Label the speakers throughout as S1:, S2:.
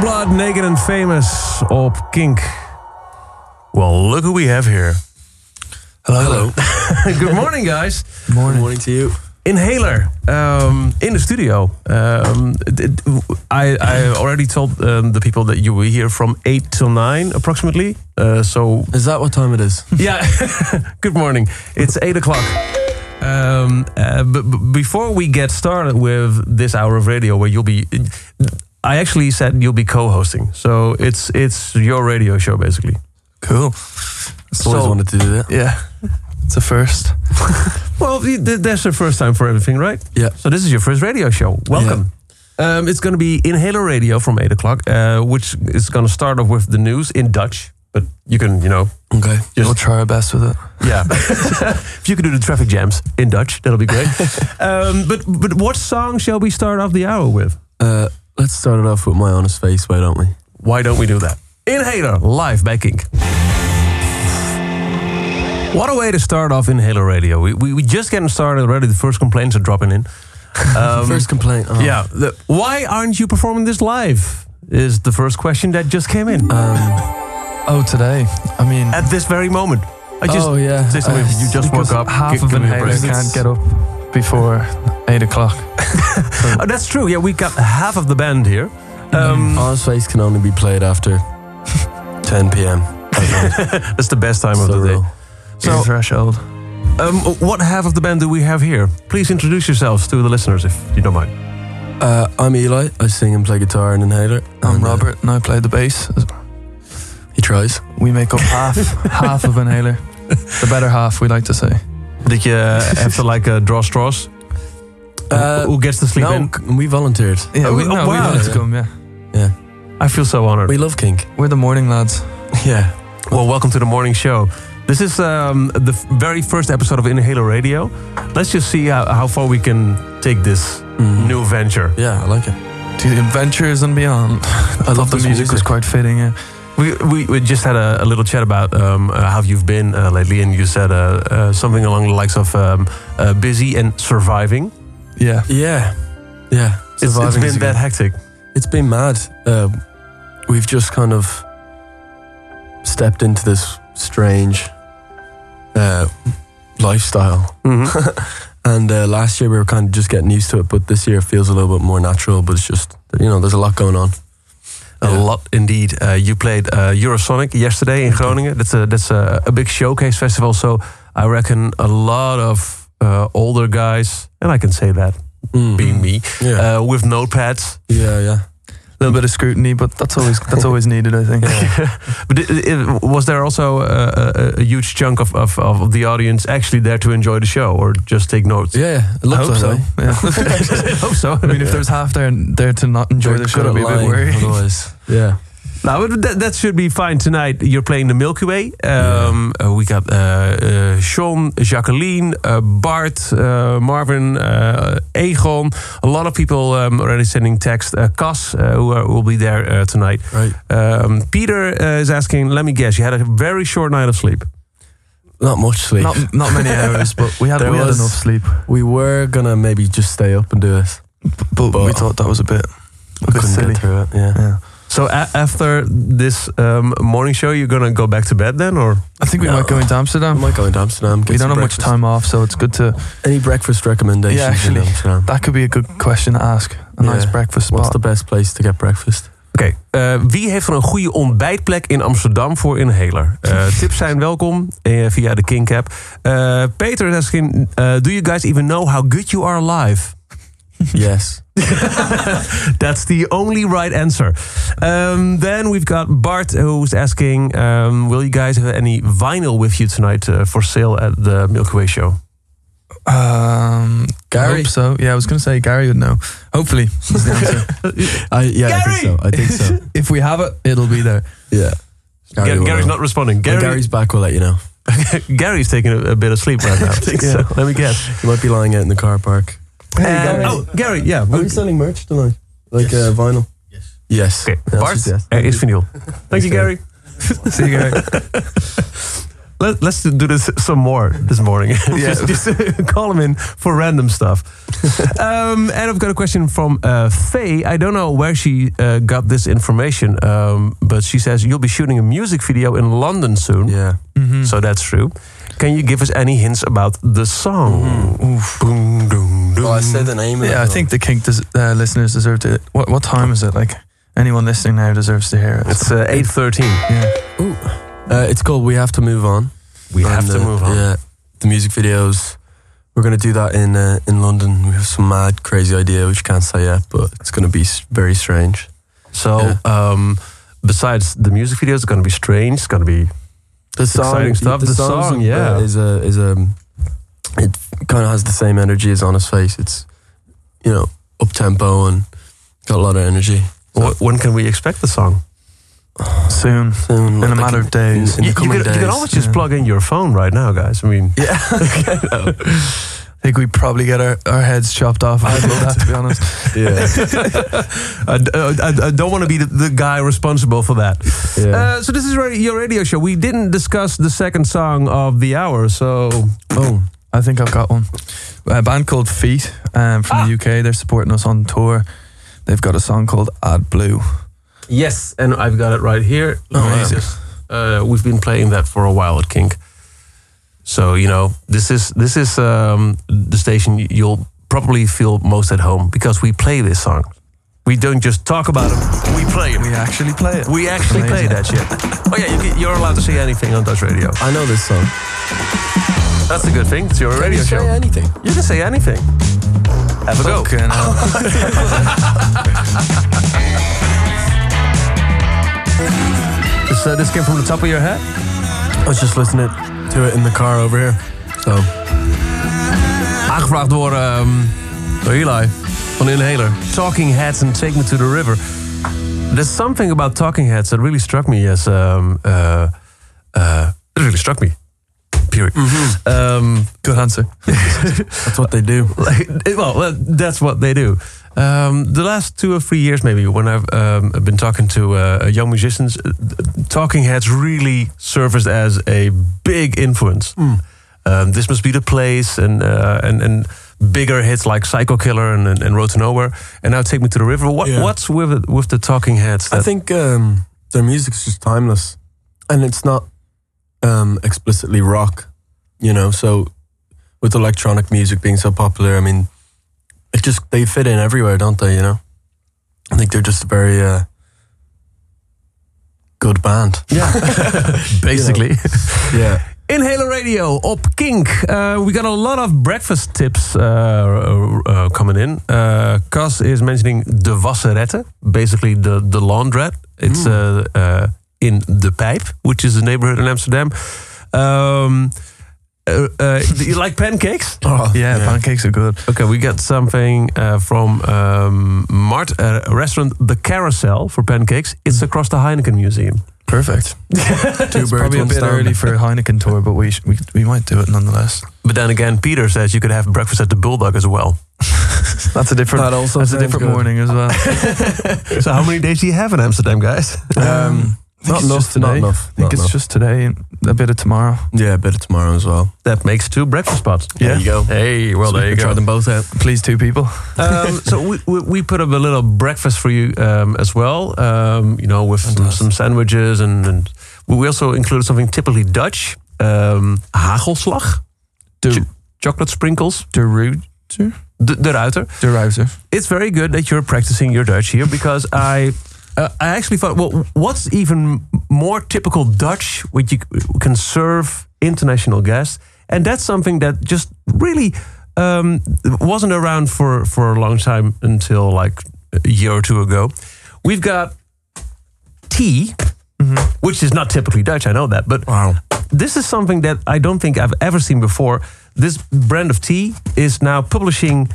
S1: Blood, Naked and Famous op Kink. Well, look who we have here.
S2: Hello. Hello.
S1: Good morning, guys.
S2: Morning. morning to you.
S1: Inhaler um, in the studio. Um, did- I, I already told um, the people that you were here from 8 till 9 approximately. Uh, so
S2: Is that what time it is?
S1: Yeah. Good morning. It's eight o'clock. Um, uh, but but before we get started with this hour of radio, where you'll be, I actually said you'll be co-hosting, so it's it's your radio show basically.
S2: Cool. always
S1: So-
S2: wanted to do that.
S1: Yeah.
S2: It's a first.
S1: Well, th- th- that's the first time for everything, right?
S2: Yeah.
S1: So this is your first radio show. Welcome. Um, it's going to be Inhaler Radio from eight o'clock, uh, which is going to start off with the news in Dutch. But you can, you know,
S2: Okay. we'll try our best with it.
S1: Yeah. if you could do the traffic jams in Dutch, that'll be great. um, but but what song shall we start off the hour with?
S2: Uh, let's start it off with my honest face, why don't we?
S1: Why don't we do that? Inhaler, live by Kink. What a way to start off Inhaler Radio. We, we, we just getting started already. The first complaints are dropping in. Um,
S2: first complaint. Oh.
S1: Yeah. the- why aren't you performing this live? Is the first question that just came in
S3: Oh, today. I mean,
S1: at this very moment. I just,
S3: oh yeah.
S1: Just- you just woke
S3: because
S1: up,
S3: Half
S1: give-
S3: of
S1: give
S3: an
S1: me a
S3: hater
S1: break.
S3: can't get up before eight o'clock.
S1: oh, that's true. Yeah, we got half of the band here. Um,
S2: Honest face can only be played after 10 p.m.
S1: Oh, that's the best time
S2: That's
S1: of
S2: the
S1: the day.
S2: rule.
S3: So threshold.
S1: Um, what half of the band do we have here? Please introduce yourselves to the listeners if you don't mind.
S2: Uh, I'm Eli. I sing and play guitar in Inhaler.
S3: I'm
S2: And, uh,
S3: Robert, and I play the bass.
S2: He tries.
S3: We make up half half of inhaler. The better half, we like to say.
S1: Did you uh, have to like uh, draw straws?
S2: Uh,
S1: Who gets the sleep
S2: No,
S1: in?
S2: c- we volunteered.
S3: Yeah,
S1: Oh,
S3: we,
S1: oh,
S3: no, we
S1: wow.
S3: wanted to come. Yeah,
S1: I feel so honored.
S2: We love kink.
S3: we're the morning lads.
S2: Yeah.
S1: Well, welcome to the morning show. This is um, the f- very first episode of Inhaler Radio. Let's just see how, how far we can take this
S2: Mm.
S1: new venture.
S2: Yeah, I like it.
S3: To the adventures and beyond.
S2: I love
S3: the
S2: this
S3: music was quite fitting. Yeah.
S1: We, we, we just had a, a little chat about um, uh, how you've been uh, lately, and you said uh, uh, something along the likes of um, uh, busy and surviving.
S3: Yeah.
S2: Yeah, yeah.
S1: It's- it's
S2: Surviving is
S1: been
S2: good.
S1: that hectic.
S2: It's been mad. Uh, we've just kind of stepped into this strange uh, lifestyle,
S3: Mm-hmm.
S2: and uh, last year we were kind of just getting used to it, but this year it feels a little bit more natural. But it's just you know, there's a lot going on.
S1: A
S2: Yeah.
S1: lot indeed. Uh, you played uh, Eurosonic yesterday in Groningen. That's a that's a, a big showcase festival. So I reckon a lot of uh, older guys, and I can say that
S2: Mm.
S1: being me,
S2: yeah,
S1: uh, with notepads.
S2: yeah, yeah.
S3: A little bit of scrutiny, but that's always that's always needed, I think.
S1: but i i was there also a, a, a huge chunk of, of, of the audience actually there to enjoy the show or just take notes?
S2: Yeah, it
S3: I
S2: looks
S3: hope
S2: that
S3: so.
S2: way.
S3: Yeah.
S1: I hope so.
S3: I mean, if there's half there there to not enjoy
S2: They're good
S3: the show,
S2: at
S3: I'd be a bit
S2: lying,
S3: worried.
S2: Otherwise, yeah.
S1: No, but that, that should be fine tonight. You're playing the Milky Way. Um, uh, we got uh, uh, Sean, Jacqueline, uh, Bart, uh, Marvin, uh, Egon. A lot of people um, already sending text. Uh, Cas, uh, who are, will be there uh, tonight.
S2: Right.
S1: Um, Peter uh, is asking, let me guess, you had a very short night of sleep.
S2: Not much sleep.
S3: Not not many hours, but we had
S2: There
S3: we had
S2: was-
S3: enough sleep.
S2: we were gonna maybe just stay up and do it.
S3: But,
S2: But-
S3: we thought that was a bit, a bit
S2: Couldn't
S3: silly.
S2: get through it. Yeah.
S3: Yeah.
S1: So a- after this um, morning show, you're going to go back to bed then? or?
S3: I think we
S2: No.
S3: might go into
S2: I
S3: Amsterdam.
S2: might go into Amsterdam. get
S3: Oh. We
S2: some
S3: don't have
S2: breakfast.
S3: much time off, so it's good to.
S2: Any breakfast recommendations
S3: Yeah, actually.
S2: in Amsterdam?
S3: That could be a good question to ask. A nice
S2: Yeah.
S3: breakfast
S2: What's
S3: spot.
S2: the best place to get breakfast?
S1: Oké, eh, wie heeft er een goede ontbijtplek in Amsterdam voor Inhaler? Eh, tips zijn welkom eh, via de King app. Eh, Peter is asking, eh, do you guys even know how good you are live?
S2: yes.
S1: That's the only right answer. Um, then we've got Bart who's asking, um, will you guys have any vinyl with you tonight eh, for sale at the Milky Way show?
S3: um, I
S2: Gary?
S3: hope so. Yeah, I was going to say Gary would know. Hopefully, is the answer.
S2: I, yeah, I think
S1: Gary!
S2: so. I think so.
S3: if we have it, it'll be there.
S2: Yeah.
S1: Ga-
S2: will
S1: Gary's
S2: know.
S1: not responding.
S2: When
S1: Gary,
S2: Gary's back, we'll let you know.
S1: Gary's taking a, a bit of sleep right now.
S2: so.
S1: Yeah, Let me guess.
S2: He might be lying out in the car park.
S1: Eh,
S3: Um,
S1: oh, Gary, yeah.
S2: Are we selling merch tonight? Like uh, vinyl? Yes.
S1: Oké,
S2: Yes.
S1: Bart, uh,
S2: yes. Oh.
S1: er is vinyl. Thank you,
S2: Gary.
S1: Gary.
S3: See you, Gary.
S1: let, let's do this some more this morning. just just call him in for random stuff. um, and I've got a question from uh, Faye. I don't know where she uh, got this information, um, but she says you'll be shooting a music video in London soon.
S2: Yeah. Mm.
S3: Mhm.
S1: So that's true. Can you give us any hints about the song?
S2: Mm.
S1: Boom, doom, doom.
S2: Well, Oh, I said the name of
S3: yeah, I think the Kink des- uh, listeners deserve to. What what time is it? Like anyone listening now deserves to hear it.
S1: it's uh, 8.13.
S3: yeah.
S2: Uh, it's called We Have to Move On.
S1: We have
S2: And,
S1: to
S2: uh,
S1: move on.
S2: Yeah. The music videos. We're going to do that in uh, in London. We have some mad, crazy idea, which can't say yet, but it's going to be s- very strange.
S1: So, um, besides the music video, it's going to be strange. It's going to be
S2: The
S1: Exciting stuff. The
S2: song's,
S1: song,
S2: uh,
S1: yeah.
S2: is a is a. It kind of has the same energy as Honest Face. It's, you know, up tempo and got a lot of energy.
S1: Wh- when can we expect the song?
S3: Soon,
S2: So,
S3: in
S2: like,
S3: a matter of days.
S2: In the
S1: you,
S2: coming
S1: you, can, you can
S2: days,
S1: always just
S3: yeah.
S1: plug in your phone right now, guys. I mean,
S2: Yeah.
S3: I think we probably get our, our heads chopped off. I'd love that to be honest.
S2: yeah.
S1: I, d- uh, I d- I don't want to be the, the guy responsible for that. Uh, so this is ra- your radio show. We didn't discuss the second song of the hour, so
S2: oh.
S3: I think I've got one. A band called Feet um, from the UK. They're supporting us on tour. They've got a song called Ad Blue.
S1: yes, and I've got it right here.
S2: Oh,
S3: Amazing.
S1: Uh, we've been playing that for a while at Kink. So you know, this is this is um, the station you'll probably feel most at home because we play this song. We don't just talk about it; we play it.
S3: We actually play it.
S1: We actually play
S3: Amazing.
S1: that shit. Oh yeah, you, can- you're allowed to say anything on Dutch radio.
S2: I know this song.
S1: That's a good thing. It's your radio
S2: Say
S1: show.
S2: anything.
S1: You can say anything. Have a go.
S3: Fucking hell.
S1: This, uh, this came from the top of your head.
S2: I was just listening to it in the car over here. So
S1: Aangevraagd door ehm, door Eli van Inhaler. Talking Heads and Take Me to the River. There's something about Talking Heads that really struck me as... ehm, uh, uh, it really struck me. Period. Ehm,
S3: Good answer.
S2: Mm-hmm. that's what they do.
S1: like, it- well, well, that's what they do. Um, the last two or three years, maybe, when I've um, been talking to uh, young musicians, uh, Talking Heads really surfaced as a big influence.
S2: Mm.
S1: Um, this must be the place, and uh, and and bigger hits like Psycho Killer and, and, and Road to Nowhere, and now Take Me to the River. What
S2: Yeah.
S1: what's with with the Talking Heads?
S2: I
S1: that-
S2: think um, their music's just timeless, and it's not um, explicitly rock, you know. So with electronic music being so popular, I mean, it just they fit in everywhere, don't they? You know, I think they're just a very uh, good band.
S1: basically.
S2: Yeah,
S1: Inhaler Radio op Kink. Uh, we got a lot of breakfast tips uh, uh, coming in. Uh, Cas is mentioning de wasserette, basically the, the laundrette. It's
S2: Mm.
S1: uh, uh, in De Pijp, which is a neighborhood in Amsterdam. Um, uh, uh, do you like pancakes?
S2: oh,
S3: Yeah, pancakes are good.
S1: Okay, we got something uh, from um, Mart, uh, restaurant The Carousel for pancakes.
S2: Mm.
S1: It's across the Heineken Museum.
S3: Perfect.
S2: two
S3: It's
S2: birds,
S3: probably a
S2: one
S3: bit
S2: stone.
S3: early for a Heineken tour, but we, sh- we we might do it nonetheless.
S1: But then again, Peter says you could have breakfast at the Bulldog as well.
S3: That's a different.
S2: That also
S3: that's a
S2: sounds good.
S3: different morning as well. I
S1: So how many days do you have in Amsterdam, guys?
S2: Um,
S3: think
S2: not
S3: it's just
S2: enough.
S3: today.
S2: Not enough.
S3: I think
S2: not
S3: it's
S2: enough.
S3: just today and a bit of tomorrow.
S2: yeah, a bit of tomorrow as well.
S1: That makes two breakfast spots.
S3: Yeah.
S2: There you go.
S1: Hey, well
S2: So we
S1: there you go.
S2: can Try them both out.
S3: Please, two people.
S1: Um, so we, we, we put up a little breakfast for you um, as well. Um, you know, with some, some sandwiches and, and we also included something typically Dutch: um, hagelslag,
S3: De,
S1: Ch- chocolate sprinkles, er.
S3: de Ruiter?
S1: de, de ruiter.
S3: De Ruiter.
S1: It's very good that you're practicing your Dutch here because I. Uh, I actually thought, well, what's even more typical Dutch, which you c- can serve international guests, and that's something that just really um, wasn't around for for a long time until like a year or two ago. We've got tea, which is not typically Dutch, I know that, but
S2: Wow.
S1: this is something that I don't think I've ever seen before. This brand of tea is now publishing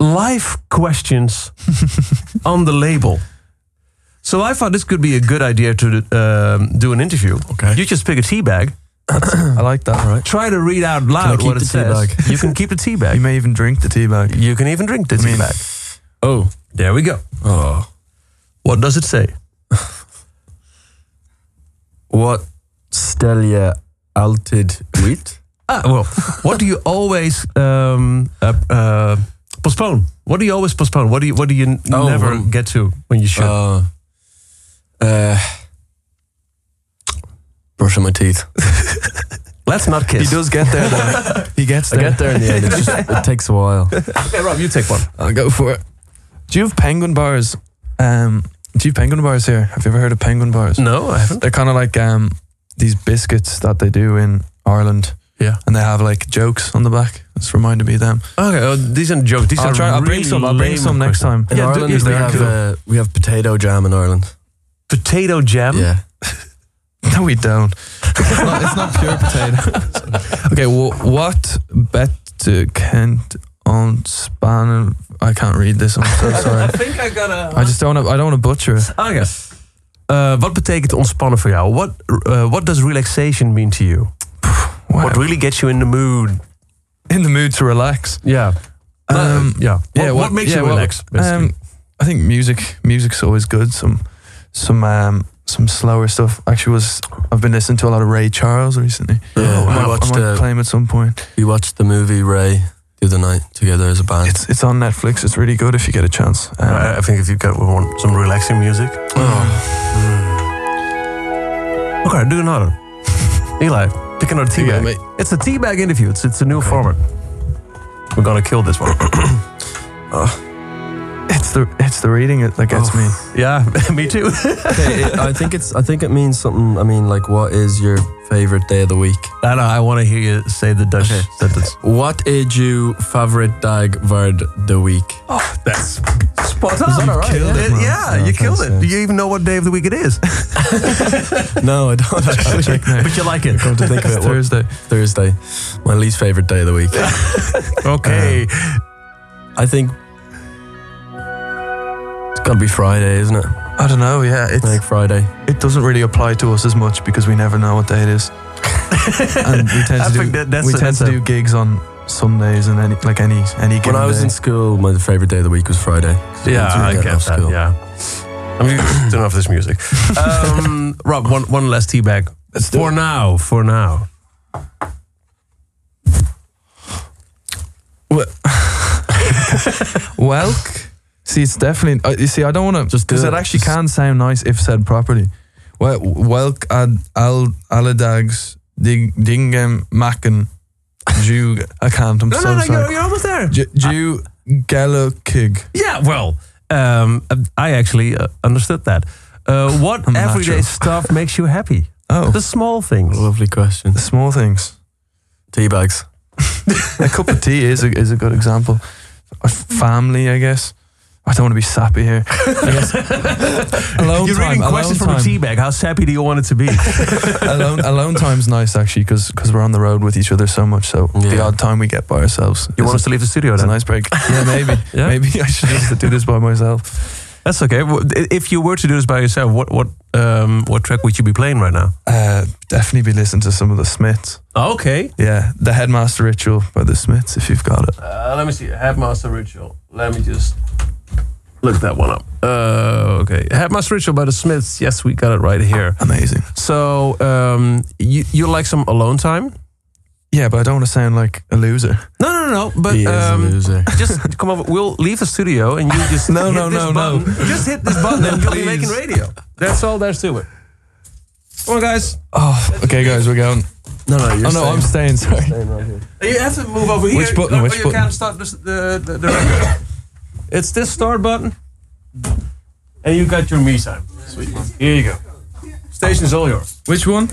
S1: life questions on the label. So I thought this could be a good idea to um, do an interview.
S2: Okay.
S1: You just pick a tea bag,
S3: I like that. Hmm. Right.
S1: try to read out loud
S2: keep
S1: what it
S2: the tea
S1: says.
S2: bag?
S1: You can keep the tea
S3: You
S1: bag.
S3: may even drink the tea bag.
S1: You can even drink the tea
S3: mean-
S1: bag.
S2: Oh.
S1: There we go.
S2: Oh.
S1: What does it say?
S2: What Stelia Altid Wheat.
S1: Ah, well, what do you always um, uh, uh, postpone? What do you always postpone? What do you What do you n-
S2: Oh,
S1: never
S2: um,
S1: get to when you should?
S2: Uh, uh, brushing my teeth.
S1: Let's not
S3: He
S1: kiss.
S3: does get there though. he gets
S2: I
S3: there.
S2: get there in the end. It, just, it takes a while.
S1: Okay, Rob, you take one.
S3: I'll go for it. Do you have penguin bars? Um, do you have penguin bars here? Have you ever heard of penguin bars?
S1: No, I haven't.
S3: They're kind of like um, these biscuits that they do in Ireland.
S1: Yeah.
S3: And they have like jokes on the back. It's reminded me of them.
S1: Okay, oh, these are jokes. These
S3: I'll,
S1: are
S3: try, I'll bring
S1: really
S3: some, I'll bring
S1: lame
S3: some next
S1: questions.
S3: time.
S2: In
S1: Yeah, do-
S2: Ireland,
S1: is
S2: we
S1: there-
S2: have uh, we have potato jam in Ireland.
S1: Potato jam.
S2: Yeah,
S3: No, we don't. It's not, it's not pure potato. okay, well, what bet to Kent on Span? I can't read this. I'm so sorry.
S1: think I got a.
S3: I just don't. Wanna, I don't want to butcher it.
S1: Ah, ja. Eh, wat betekent ontspannen voor jou? What, eh, what does relaxation mean to you? What really gets you in the mood?
S3: In the mood to relax.
S1: Yeah.
S3: Um,
S1: Uh, yeah. What,
S3: yeah,
S1: what
S3: what-
S1: makes
S3: yeah,
S1: you
S3: well,
S1: relax? basically?
S3: Um, I think music. Music's always good. Some, some, um, some slower stuff. Actually, was I've been listening to a lot of Ray Charles recently.
S2: Yeah,
S3: I
S2: we
S3: might-
S2: watched,
S3: I might
S2: uh,
S3: play him at some point.
S2: we watched the movie Ray the other night together as a band.
S3: It's it's on Netflix. It's really good if you get a chance. Um,
S1: Uh, I think if you got we want some relaxing music.
S2: Oh,
S1: Okay, do another. Eli, pick another
S3: yeah,
S1: teabag.
S3: mate.
S1: It's a teabag interview. It's, it's a new format. We're gonna kill this one.
S3: It's the it's the reading it that gets
S2: Oh.
S3: me.
S1: yeah, me too.
S2: okay, it- I think it's. I think it means something. I mean, like, what is your favorite day of the week?
S1: I know. I want to hear you say the Dutch
S2: Okay.
S1: sentence.
S2: What is your favorite dag van de week?
S1: Oh, that's spot on.
S3: You alright? killed it, man.
S1: yeah,
S3: Yeah,
S1: you killed it.
S3: thanks,
S1: Do
S3: yeah.
S1: you even know what day of the week it is?
S2: No, I don't actually.
S1: but you like it.
S2: Come to think of it, what-
S3: Thursday.
S2: Thursday, my least favorite day of the week.
S1: Okay.
S3: um,
S2: I think it's got to be Friday, isn't it?
S3: I don't know. Yeah, it's,
S2: Like Friday.
S3: it doesn't really apply to us as much because we never know what day it is, and we tend
S1: I
S3: to do
S1: think that- that's
S3: we
S1: a-
S3: tend
S1: that's
S3: to
S1: a-
S3: do gigs on Sundays and any like any any given
S2: When I was
S3: day.
S2: in school, my favorite day of the week was Friday.
S1: yeah,
S2: Until you
S1: I
S2: get
S1: get
S2: off
S1: that.
S2: school.
S1: Yeah. I mean, turn off this music. Um, Rob, one one last teabag
S3: Let's do
S1: for now. For now.
S3: Welk. See, it's definitely. Uh, you see, I don't want to.
S2: Just do
S3: Because
S2: it.
S3: it actually
S2: Just-
S3: can sound nice if said properly. Wel- Welk ad al alledags ding, dingen maken ju. I can't. I'm
S1: No,
S3: so
S1: no, no, you're,
S3: sorry.
S1: you're almost there.
S3: Ju- Ju gelukkig.
S1: Yeah, well, um, I actually uh, understood that. Uh, what
S3: I'm not
S1: everyday
S3: sure.
S1: stuff makes you happy?
S3: Oh,
S1: The small things.
S2: Lovely question.
S3: the small things.
S2: Tea bags.
S3: a cup of tea is a, is a good example. Or family, I guess. I don't want to be sappy here. I guess. alone
S1: you're
S3: time.
S1: reading
S3: Alone
S1: questions from a
S3: time.
S1: teabag. How sappy do you want it to be?
S3: Alone, alone time's nice actually because we're on the road with each other so much. So the
S2: Yeah.
S3: odd time we get by ourselves.
S1: You want us
S3: is
S1: to leave the studio
S3: a, is a
S1: then?
S3: nice break. Yeah, maybe.
S1: Yeah?
S3: Maybe I should just do this by myself.
S1: That's okay. Well, i- If you were to do this by yourself, what what um, what track would you be playing right now?
S3: Uh, definitely be listening to some of the Smiths.
S1: Okay.
S3: Yeah, the Headmaster Ritual by the Smiths if you've got it.
S1: Uh, let me see. Headmaster Ritual. Let me just look that one up. Uh, okay. Headmaster Ritual by the Smiths. Yes, we got it right here.
S3: Amazing.
S1: So um, you you like some alone time?
S3: Yeah, but I don't want to sound like a loser.
S1: No, no, no. no, But
S2: he is a
S1: um,
S2: loser.
S1: just come over. We'll leave the studio and you just
S3: No,
S1: hit
S3: no,
S1: this
S3: no, no.
S1: button. Just hit this button and you'll be making
S3: please.
S1: radio. That's all there's to it. Come on, guys.
S3: Oh, okay, guys, we're going.
S2: No, no, you're
S3: Oh no, I'm staying. Sorry.
S2: staying right here.
S1: You have to move over here.
S3: Which button?
S1: or- or
S3: Which
S1: you
S3: button?
S1: can't start this, the, the, the record. It's this start button. And you got your me time. Sweet man. Here you go. Station is all yours.
S3: Which one?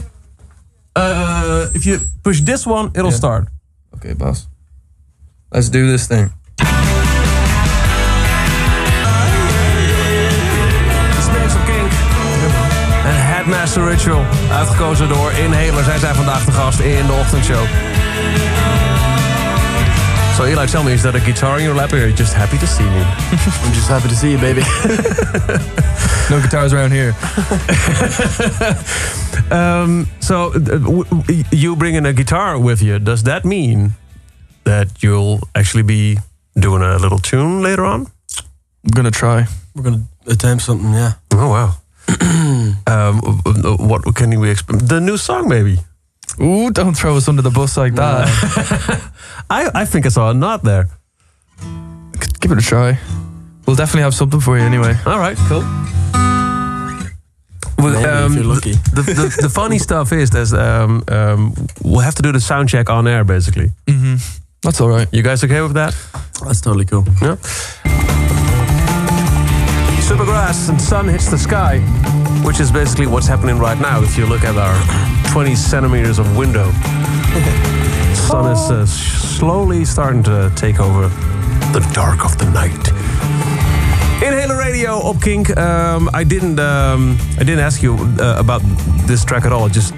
S1: Uh, if you push this one, it'll
S3: Yeah.
S1: start.
S3: Okay, boss. Let's do this thing.
S1: Snakes of Kink. Een Headmaster Ritual. Uitgekozen door Inhaler. Zij zijn vandaag de gast in de ochtendshow. So Eli, tell me, is that a guitar in your lap or are you just happy to see me?
S2: I'm just happy to see you, baby.
S3: No guitars around here.
S1: Um, so uh, w- w- you bring in a guitar with you. Does that mean that you'll actually be doing a little tune later on?
S3: I'm gonna try.
S2: We're gonna attempt something. Yeah.
S1: Oh wow. Um, what can we expect? The new song, maybe.
S3: Ooh, don't throw us under the bus like that.
S1: Uh, I, I think I saw a nod there.
S3: Could Give it a try. We'll definitely have something for you anyway.
S1: All right, cool. Well,
S2: Maybe, if
S1: um,
S2: you're lucky.
S1: The, the, the funny stuff is, there's um, um, we'll have to do the sound check on air, basically.
S3: Mm-hmm. That's all right.
S1: You guys okay with that?
S2: That's totally cool.
S1: Yeah. Supergrass and sun hits the sky, which is basically what's happening right now. If you look at our 20 centimeters of window, sun is uh, slowly starting to take over the dark of the night. Inhaler Radio op Kink. Um, I didn't um, I didn't ask you uh, about this track at all. I just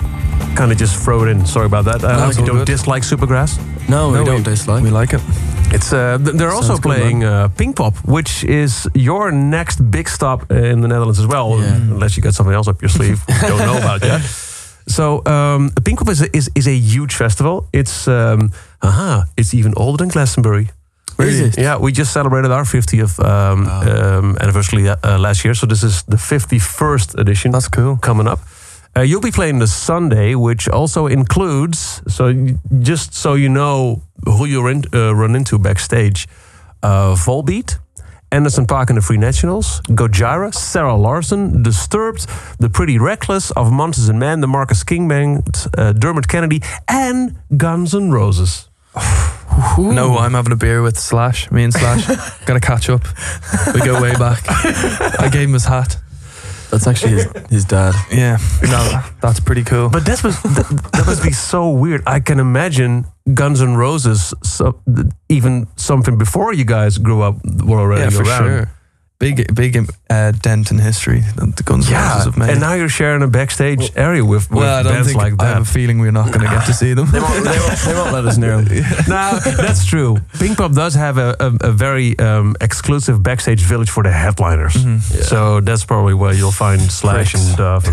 S1: kind of just throw it in. Sorry about that. Uh, I
S3: No,
S1: hope
S3: it's
S1: you
S3: all
S1: don't
S3: good.
S1: dislike Supergrass.
S2: No, we
S3: No,
S2: don't dislike.
S3: We like it.
S1: It's uh, th- they're also
S2: Sounds good, man.
S1: playing uh, Pink Pop, which is your next big stop in the Netherlands as well,
S2: Yeah.
S1: unless you got something else up your sleeve. we don't know about yet. So um, Pink Pop is a, is, is a huge festival. It's um, aha, it's even older than Glastonbury.
S2: Is it?
S1: Yeah, we just celebrated our 50th um,
S2: Wow.
S1: um, anniversary uh, uh, last year, so this is the 51st edition
S3: That's cool.
S1: coming up. Uh, you'll be playing the Sunday, which also includes. So y- just so you know who you run, uh, run into backstage, uh, Volbeat, Anderson Park and the Free Nationals, Gojira, Sarah Larson, Disturbed, The Pretty Reckless of Monsters and Men, the Marcus King Band, uh, Dermot Kennedy, and Guns N' Roses.
S3: No, I'm having a beer with Slash. Me and Slash. Gotta catch up. We go way back. I gave him his hat.
S2: That's actually his, his dad.
S3: Yeah. No, that's pretty cool.
S1: But that was that, that must be so weird. I can imagine Guns N' Roses, so, th- even something before you guys grew up, were already
S3: yeah, for
S1: around.
S3: sure. Big, big uh, dent in history that the Guns N' Roses have made.
S1: and now you're sharing a backstage area with, with
S3: well, I don't
S1: bands
S3: think
S1: like
S3: I have a
S1: that.
S3: feeling we're not going to get to see them.
S2: They won't, they won't, they won't let us near him.
S1: no, that's true. Pink Pop does have a, a, a very um, exclusive backstage village for the headliners. So that's probably where you'll find Slash and stuff.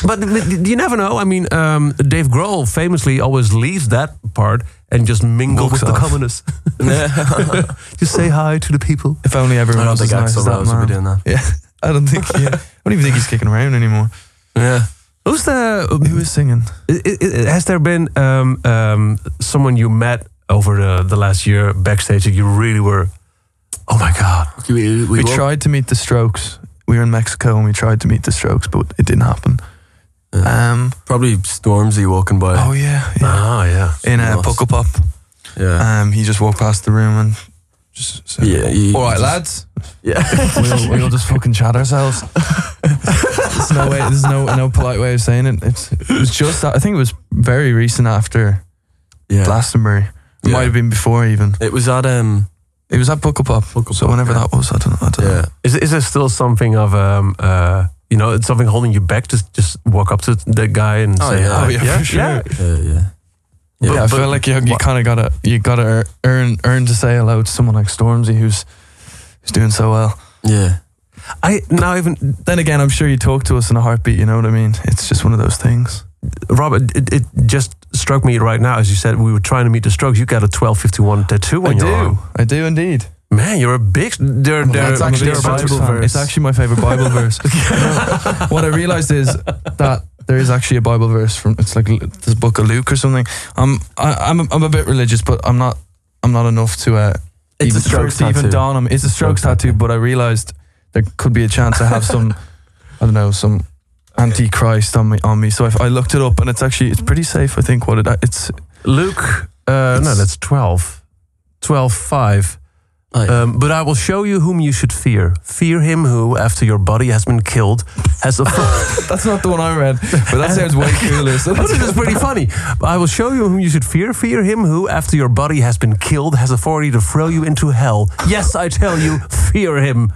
S1: but, but you never know. I mean, um, Dave Grohl famously always leaves that part and just mingles
S3: Walks
S1: with the
S3: off.
S1: communists. just say hi to the people.
S3: If only
S2: I
S3: everyone
S2: don't
S3: was as
S2: think
S3: nice as
S2: Axel
S3: that
S2: Rose would be
S3: man.
S2: doing that.
S3: Yeah, I don't think. Yeah, I don't even think he's kicking around anymore.
S2: Yeah.
S1: Who's the? um,
S3: Who is singing?
S1: i- i- i- Has there been um, um, someone you met over the, the last year backstage that you really were? Oh my god!
S2: Okay, we, we,
S3: We,
S2: won't-
S3: tried to meet the Strokes. We were in Mexico and we tried to meet the Strokes, but it didn't happen.
S2: Yeah.
S3: Um.
S2: Probably Stormzy walking by.
S3: Oh yeah. yeah.
S1: Ah, yeah.
S3: in uh,
S2: Uh-huh. lost.
S3: Puckle Pop,
S2: yeah.
S3: um, he just walked past the room and just said,
S2: Yeah, he-
S3: "All right,
S2: he
S3: lads,
S2: yeah.
S3: we'll, we'll just fucking chat ourselves." there's no way. There's no no polite way of saying it. It's, it was just that. I think it was very recent after
S2: yeah.
S3: Glastonbury. It
S2: Yeah.
S3: might have been before even.
S2: It was at um.
S3: It was at Puckle Pop.
S2: Puckle
S3: so
S2: Pop,
S3: whenever
S2: yeah.
S3: that was, I don't, I don't know.
S2: Yeah.
S1: Is is there still something of um uh you know it's something holding you back? Just just walk up to the guy and
S2: Oh,
S1: say
S2: yeah.
S1: hi.
S2: Oh,
S3: yeah, for sure.
S2: Yeah. Yeah. Yeah,
S3: Yeah, I
S1: but-
S3: feel like you, you kind of gotta you gotta earn earn to say hello to someone like Stormzy who's who's doing so well.
S2: Yeah.
S1: I now even
S3: Then again, I'm sure you talk to us in a heartbeat. You know what I mean? It's just one of those things.
S1: Robert, it, it just struck me right now as you said we were trying to meet the Strokes. You got a twelve fifty one tattoo on
S3: I
S1: your
S3: do,
S1: arm.
S3: I do indeed.
S1: Man, you're a big. They're, they're,
S3: That's actually
S1: they're
S3: a
S1: about to
S3: Bible
S1: fan.
S3: verse. It's actually my favorite Bible verse. No, what I realized is that there is actually a Bible verse from it's like Lu- this book of Luke or something. I'm I, I'm a, I'm a bit religious, but I'm not I'm not enough to uh,
S2: It's
S3: even,
S2: a Strokes
S3: to even
S2: tattoo.
S3: down them. It's a Strokes
S2: Strokes
S3: tattoo, but I realized there could be a chance I have some I don't know some antichrist on me on me. So if I looked it up, and it's actually it's pretty safe. I think what it it's
S1: Luke. Uh, no,
S3: It's-
S1: that's twelve. 12 5.
S2: Oh, yeah.
S1: Um, but I will show you whom you should fear. Fear him who, after your body has been killed, has a.
S3: that's not the one I read, but that sounds way cooler. So
S1: But
S3: that's-
S1: it is pretty funny. I will show you whom you should fear. Fear him who, after your body has been killed, has authority to throw you into hell. Yes, I tell you, fear him.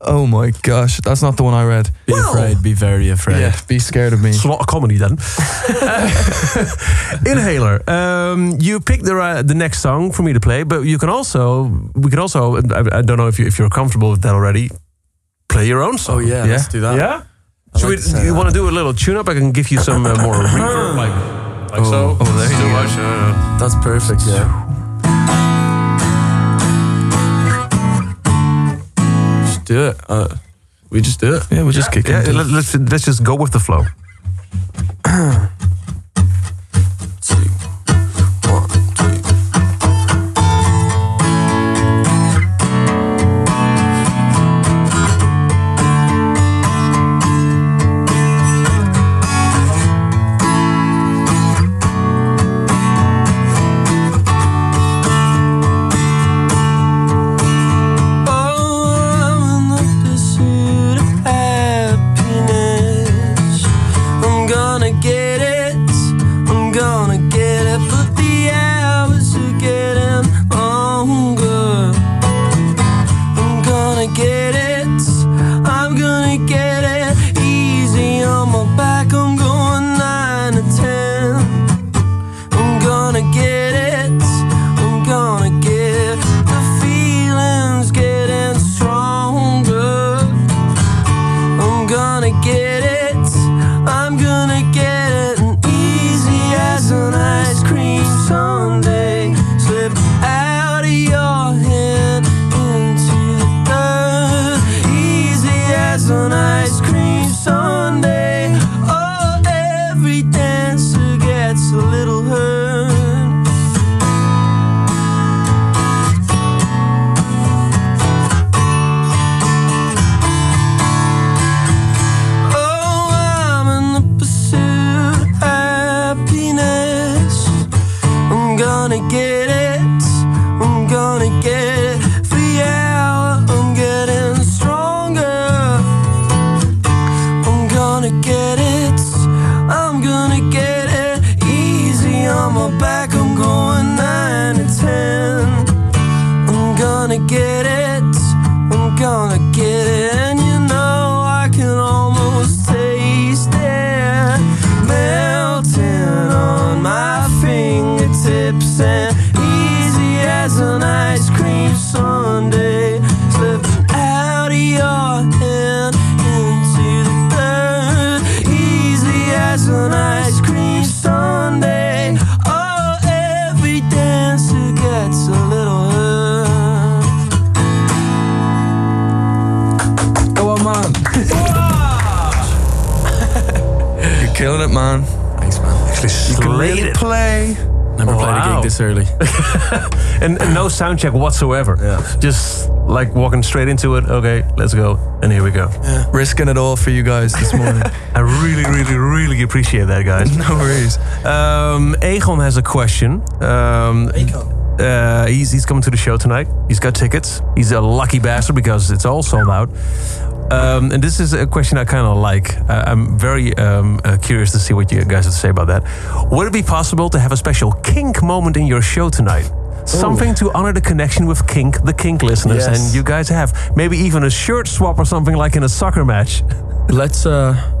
S3: oh my gosh, that's not the one I read.
S2: Be
S1: Well.
S2: afraid. Be very afraid.
S3: Yeah, be scared of me.
S1: It's a lot of comedy then. Inhaler. Um, you picked the ri- the next song for me to play, but you can also we can also. I, I don't know if you if you're comfortable with that already. Play your own song.
S2: Oh yeah. Let's do that.
S1: Yeah.
S2: I
S1: Should
S2: like
S1: we,
S2: to say
S1: you
S2: that.
S1: want to do a little tune up? I can give you some uh, more reverb, like, like so.
S3: oh, there you
S1: Too
S3: go.
S1: much, uh,
S2: That's perfect. Yeah. Just do it. Uh, we
S4: We just do it.
S3: Yeah, we'll just kick
S1: Yeah,
S3: it.
S1: let- let's, let's just go with the flow.
S4: Two, one, two. I'm in the pursuit of happiness. I'm gonna get it. I'm gonna get it. But the hours are getting longer. I'm gonna get it. I'm gonna get it. Easy on my back. I'm going nine to ten. I'm gonna get it. I'm gonna get it. The feeling's getting stronger. I'm gonna get it. I'm gonna get it. And easy as an ice cream sundae. Slip out of your hand into the dirt. Easy as an ice cream sundae. Oh, every dancer gets a little hurt. Oh, I'm in the pursuit of happiness. I'm gonna get it. I'm gonna get it. For yeah, I'm getting stronger. I'm gonna get it. I'm gonna get it. Easy on my back. I'm going nine to ten. I'm gonna get it. I'm gonna get it. And you know I can almost taste it melting on my fingertips and easy as an ice cream sundae. Slipping out of your hand into the dirt. Easy as an ice cream sundae. Oh, every dancer gets a little hurt.
S3: Go on, man. You're killing it, man.
S4: Thanks, man.
S1: Actually slayed it.
S3: Play.
S4: Never played a
S1: Wow.
S4: gig this early.
S1: And, and no sound check whatsoever.
S4: Yeah.
S1: Just like walking straight into it. Okay, let's go. And here we go.
S3: Risking it all for you guys this morning.
S1: I really, really, really appreciate that, guys.
S3: no worries.
S1: Um, Egon has a question. Um, uh, he's, he's coming to the show tonight. He's got tickets. He's a lucky bastard because it's all sold out. Um, and this is a question I kind of like. I, I'm very um, uh, curious to see what you guys would say about that. Would it be possible to have a special kink moment in your show tonight? Something to honor the connection with kink, the kink listeners,
S4: Yes.
S1: and you guys have maybe even a shirt swap or something like in a soccer match.
S4: Let's uh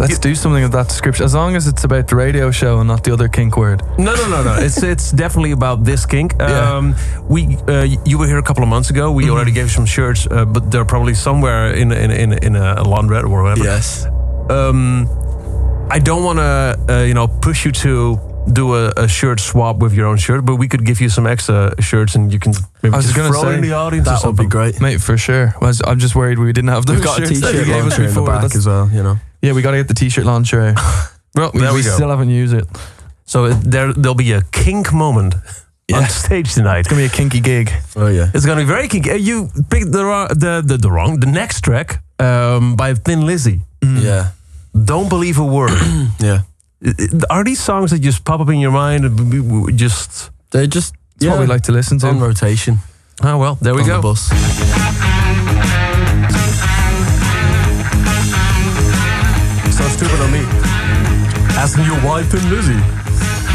S3: Let's do something of that description. As long as it's about the radio show and not the other kink word.
S1: No, no, no, no. It's it's definitely about this kink.
S3: Yeah. Mm-hmm.
S1: Um, we uh, y- you were here a couple of months ago. We already gave you some shirts, uh, but they're probably somewhere in in in, in a laundrette or whatever.
S4: yes.
S1: Um, I don't want to uh, you know push you to do a, a shirt swap with your own shirt, but we could give you some extra shirts and you can maybe
S3: I was
S1: just
S3: gonna
S1: throw
S3: say,
S1: in the audience or
S4: That would be
S1: something.
S4: great.
S3: Mate, for sure. Was- I'm just worried we didn't have those
S4: We've got a
S3: shirts that
S4: t-shirt
S3: you gave us
S4: launcher in the
S3: before.
S4: back
S3: That's-
S4: as well, you know.
S3: Yeah, we got to get the t-shirt launcher. out.
S1: Well,
S3: we
S1: there we,
S3: we
S1: go.
S3: still haven't used it.
S1: so it, there there'll be a kink moment on
S3: Yeah.
S1: stage tonight.
S3: It's gonna be a kinky gig.
S4: Oh yeah.
S1: It's gonna be very kinky. Uh, You picked the wrong, the, the the wrong the next track um, by Thin Lizzy.
S4: Yeah.
S1: Don't believe a word.
S4: Yeah.
S1: I- I- Are these songs that just pop up in your mind? and b- b- b- Just
S4: They just
S3: It's
S4: yeah, Um,
S3: what we like to listen to.
S4: on rotation.
S1: oh well, there we
S4: on
S1: go.
S4: the bus.
S1: So stupid on me. Asking your wife Thin Lizzy.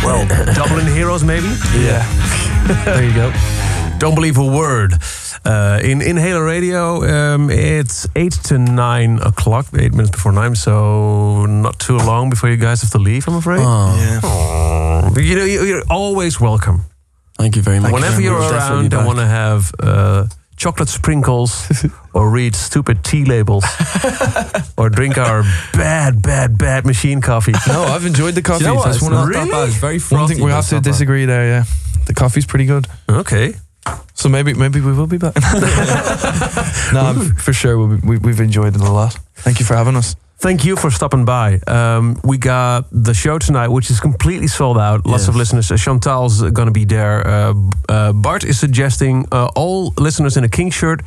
S1: Well, Dublin Heroes maybe.
S3: Yeah. there you go.
S1: Don't believe a word. Uh, in Inhaler Radio, um, it's 8 to 9 o'clock, 8 minutes before 9, so not too long before you guys have to leave, I'm afraid.
S4: Oh,
S3: Yeah.
S1: You know, you- you're always welcome.
S4: thank you very much.
S1: Whenever you're around and want to have uh, chocolate sprinkles or read stupid tea labels or drink our bad, bad, bad machine coffee.
S3: No, I've enjoyed the coffee.
S4: you know what?
S3: That's
S4: It's
S3: one of
S4: not
S3: the-
S4: that bad. It's very
S3: one
S4: frothy.
S3: thing we
S4: but
S3: have
S4: it's
S3: to
S4: not bad.
S3: disagree there. Yeah, the coffee's pretty good.
S1: Okay.
S3: So maybe maybe we will be back. no, I'm- for sure we, we, we've enjoyed it a lot. Thank you for having us.
S1: Thank you for stopping by. Um, we got the show tonight, which is completely sold out. Lots of
S2: Yes.
S1: listeners. Uh, Chantal's going to be there. Uh, uh, Bart is suggesting uh, all listeners in a king shirt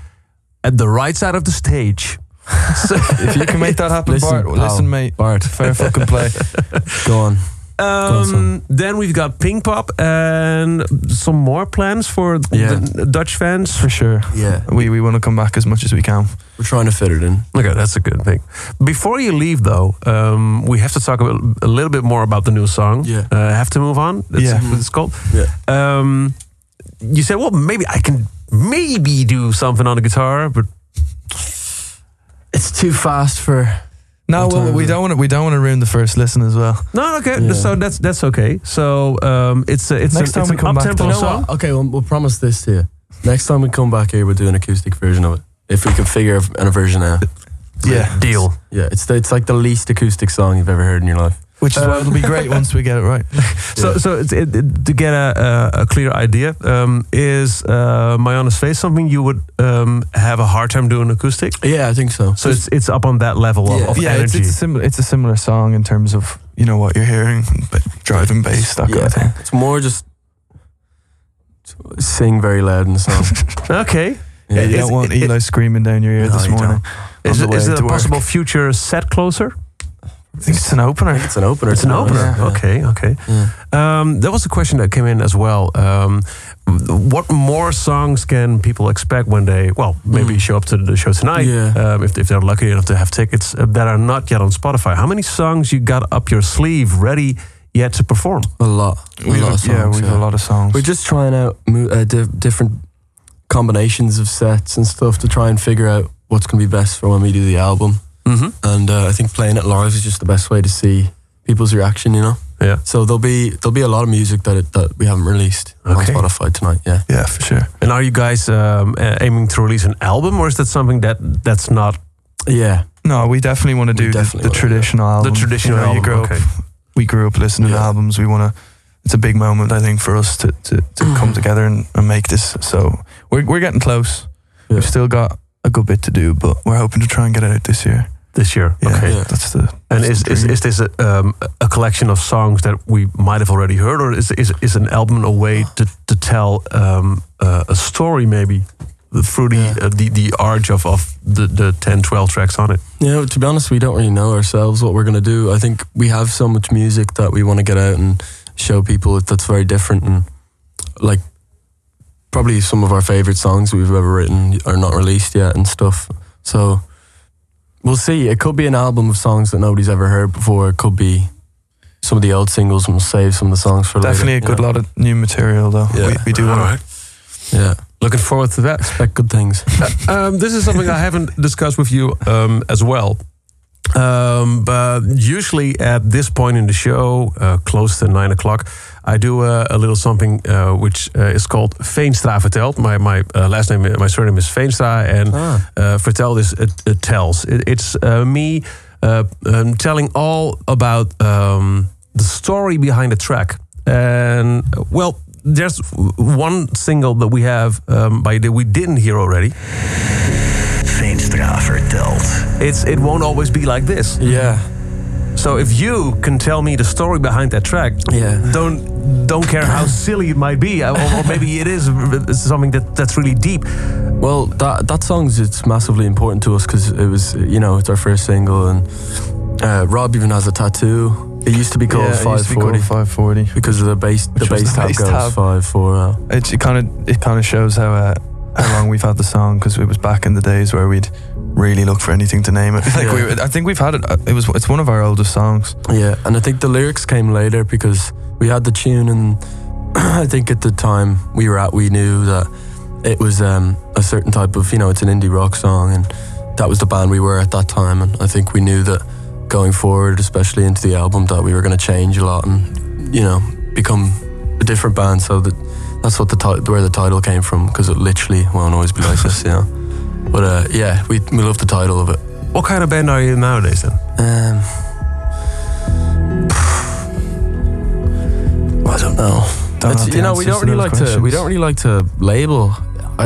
S1: at the right side of the stage. So-
S3: If you can make that happen,
S2: Listen,
S3: Bart.
S2: pal.
S3: Listen, mate.
S2: Bart,
S3: Fair fucking play.
S2: go on.
S1: Um, then we've got Pink Pop and some more plans for th-
S2: Yeah.
S1: the Dutch fans.
S3: For sure.
S2: Yeah,
S3: We, we want to come back as much as we can.
S2: we're trying to fit it in.
S1: Okay, that's a good thing. Before you leave, though, um, we have to talk a, a little bit more about the new song.
S2: Yeah.
S1: uh, have to move on. That's
S3: Yeah.
S1: what it's called.
S2: Yeah.
S1: Um, you said, well, maybe I can maybe do something on the guitar, but
S2: It's too fast for.
S3: No,
S2: What
S3: well,
S2: time
S3: we
S2: is it?
S3: don't want to. We don't want to ruin the first listen as well.
S1: no, okay.
S2: Yeah.
S1: So that's that's okay. So um, it's a, it's
S3: Next
S1: a,
S3: time
S1: it's
S3: we
S1: an
S3: come back
S1: up-tempo
S3: to- You know
S1: song.
S2: Okay, we'll, we'll promise this to you. Next time we come back here, we'll do an acoustic version of it. If we can figure a- a version out.
S3: Yeah,
S1: Deal.
S2: Yeah, it's the, it's like the least acoustic song you've ever heard in your life.
S3: which is why
S2: Uh,
S3: it'll be great once we get it right.
S1: So,
S2: Yeah.
S1: so it's, it, it- to get a, a, a clear idea, um, is uh, My Honest Face something you would um, have a hard time doing acoustic?
S2: Yeah, I think so.
S1: So it's it's up on that level of,
S2: Yeah.
S1: of
S3: yeah, it's,
S1: energy.
S3: it's a similar. It's a similar song in terms of you know what you're hearing, but driving bass that kind of thing.
S2: It's more just sing very loud in the song.
S1: okay.
S3: Yeah,
S2: Yeah,
S3: you
S1: Is-
S3: don't want
S1: it-
S3: Eli screaming down your ear
S2: No,
S3: this
S2: you
S3: morning. On
S1: Is,
S3: the
S1: it-
S3: way
S1: is it a
S3: to work.
S1: possible future set closer?
S3: I think it's an opener.
S2: It's an opener.
S1: It's an opener.
S2: Yeah.
S1: Okay, okay.
S2: Yeah.
S1: Um, there was a question that came in as well. Um, what more songs can people expect when they, well, maybe
S2: Mm.
S1: show up to the show tonight?
S2: Yeah.
S1: Um, if, if they're lucky enough to have tickets uh, that are not yet on Spotify, how many songs you got up your sleeve ready yet to perform?
S2: A lot. A
S3: We've-
S2: lot of
S3: yeah,
S2: songs.
S3: we've a lot of songs.
S2: We're just trying out mo- uh, di- different combinations of sets and stuff to try and figure out what's going to be best for when we do the album.
S1: Mm-hmm.
S2: And uh, I think playing it live is just the best way to see people's reaction. You know.
S1: Yeah.
S2: So there'll be there'll be a lot of music that it, that we haven't released on
S1: Okay.
S2: Spotify tonight. Yeah.
S3: yeah, for sure.
S1: And are you guys um, uh, aiming to release an album, or is that something that that's not
S2: Yeah.
S3: No, we definitely want to
S2: We
S3: do the,
S2: definitely
S3: the
S2: wanna do
S3: traditional album.
S1: the traditional
S3: you know, you
S1: album?
S3: grow up-
S1: okay.
S3: we grew up listening to
S2: Yeah.
S3: albums. We want to. It's a big moment, I think, for us to to, to come together and, and make this. So we're we're getting close.
S2: Yeah.
S3: We've still got a good bit to do, but we're hoping to try and get it out this year.
S1: This year,
S3: Yeah,
S1: okay.
S2: Yeah.
S3: that's the.
S1: And
S3: that's
S1: is,
S3: the
S1: is,
S3: dream.
S1: is this a, um, a collection of songs that we might have already heard, or is, is, is an album a way to, to tell um, uh, a story maybe through the,
S2: Yeah.
S1: uh, the, the arch of, of the, the 10, 12 tracks on it?
S2: Yeah, well, to be honest, we don't really know ourselves what we're going to do. I think we have so much music that we want to get out and show people that that's very different. And like, probably some of our favorite songs we've ever written are not released yet and stuff. So we'll see. It could be an album of songs that nobody's ever heard before. It could be some of the old singles and we'll save some of the songs for
S3: definitely a
S2: later.
S3: good lot of new material, though.
S2: Yeah.
S3: We, we do want
S2: Yeah. yeah.
S1: Looking forward to that.
S2: Expect good things.
S1: um, this is something I haven't discussed with you um, as well. Um, but usually at this point in the show, uh, close to nine o'clock, I do a, a little something uh, which uh, is called Veenstra vertelt. My my uh, last name, my surname is Veenstra, and
S2: Ah.
S1: uh, verteld is it, it tells. It, it's uh, me uh, um, telling all about um, the story behind the track. And uh, well, there's w- one single that we have um, by that we didn't hear already.
S5: Veenstra vertelt.
S1: It's it won't always be like this.
S2: Yeah.
S1: So if you can tell me the story behind that track,
S2: Yeah.
S1: don't don't care how silly it might be, or, or maybe it is something that that's really deep.
S2: Well, that that song's it's massively important to us because it was you know it's our first single and uh, Rob even has a tattoo. It used to be
S3: to.
S2: called Five Forty
S3: Five forty.
S2: because of the bass the
S3: Which was
S2: bass
S3: the
S2: tab
S3: bass
S2: goes
S3: tab.
S2: five four. Uh,
S3: It kind of it kind of shows how uh, how long we've had the song because it was back in the days where we'd really look for anything to name it. Like
S2: Yeah.
S3: we, were- I think we've had it. uh, It was it's one of our oldest songs.
S2: yeah, and I think the lyrics came later because we had the tune and I think at the time we were at we knew that it was um, a certain type of you know it's an indie rock song and that was the band we were at that time and I think we knew that going forward especially into the album that we were going to change a lot and you know become a different band so that that's what the ti- where the title came from because it literally won't always be like this you know but uh, yeah we, we love the title of it
S1: What kind of band are you nowadays then?
S2: um, I don't know.
S3: Don't
S2: It's-
S3: have the
S2: you know, we
S3: answers
S2: don't really
S3: those
S2: like to. We
S3: questions.
S2: don't really like to label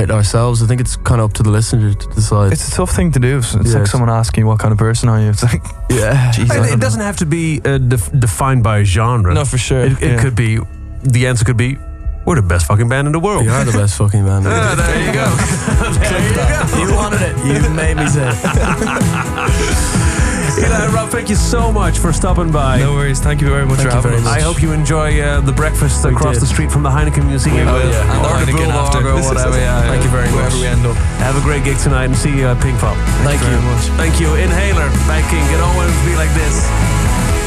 S2: it ourselves. I think it's kind of up to the listener to decide.
S3: It's a tough thing to do. It's, it's
S2: Yeah,
S3: like
S2: it's-
S3: someone asking you what kind of person are you. It's like,
S2: yeah.
S3: Jesus.
S1: It, it doesn't have to be uh, def- defined by genre.
S3: No, for sure.
S1: It, it
S3: yeah.
S1: could be, the answer could be, we're the best fucking band in the world.
S2: You are Oh, the best fucking man.
S1: Ah, there you go.
S2: you wanted it. You made me say it.
S1: Eli and Rob, thank you so much for stopping by.
S3: No worries. Thank you very much
S2: Thank
S3: for
S2: you very
S3: having us.
S2: much.
S1: I hope you enjoy uh, the breakfast across
S2: did.
S1: the street from the Heineken Museum.
S3: will.
S1: Or
S3: And
S1: the
S3: Heineken
S1: Bulldog
S3: after.
S1: or whatever. yeah,
S3: Thank
S1: yeah.
S3: you very much.
S1: Wherever we end up. Have a great gig tonight and see you at Pink Pop.
S3: Thank you very much.
S1: Thank you. Inhaler, back in. It always be like this.